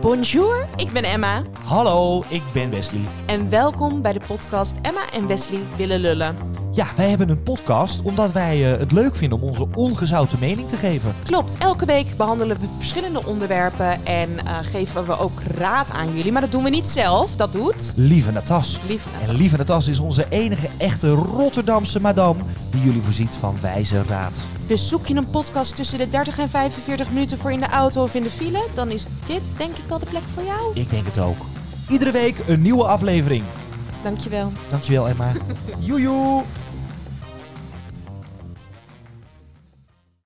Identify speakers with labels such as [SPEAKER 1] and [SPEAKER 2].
[SPEAKER 1] Bonjour, ik ben Emma
[SPEAKER 2] Hallo, ik ben Wesley.
[SPEAKER 1] en welkom bij de podcast Emma en Wesley willen lullen.
[SPEAKER 2] Ja, wij hebben een podcast omdat wij eh, het leuk vinden om onze ongezouten mening te geven.
[SPEAKER 1] Klopt, elke week behandelen we verschillende onderwerpen en eh, geven we ook raad aan jullie. Maar dat doen we niet zelf, dat doet...
[SPEAKER 2] Lieve Natas.
[SPEAKER 1] Lieve Nat-
[SPEAKER 2] En Lieve Natas is onze enige echte Rotterdamse madame die jullie voorziet van wijze raad.
[SPEAKER 1] Dus zoek je een podcast tussen de 30 en 45 minuten voor in de auto of in de file, dan is dit denk ik wel de plek voor jou.
[SPEAKER 2] Ik denk het ook. Iedere week een nieuwe aflevering.
[SPEAKER 1] Dankjewel.
[SPEAKER 2] Dankjewel Emma. Joejoe.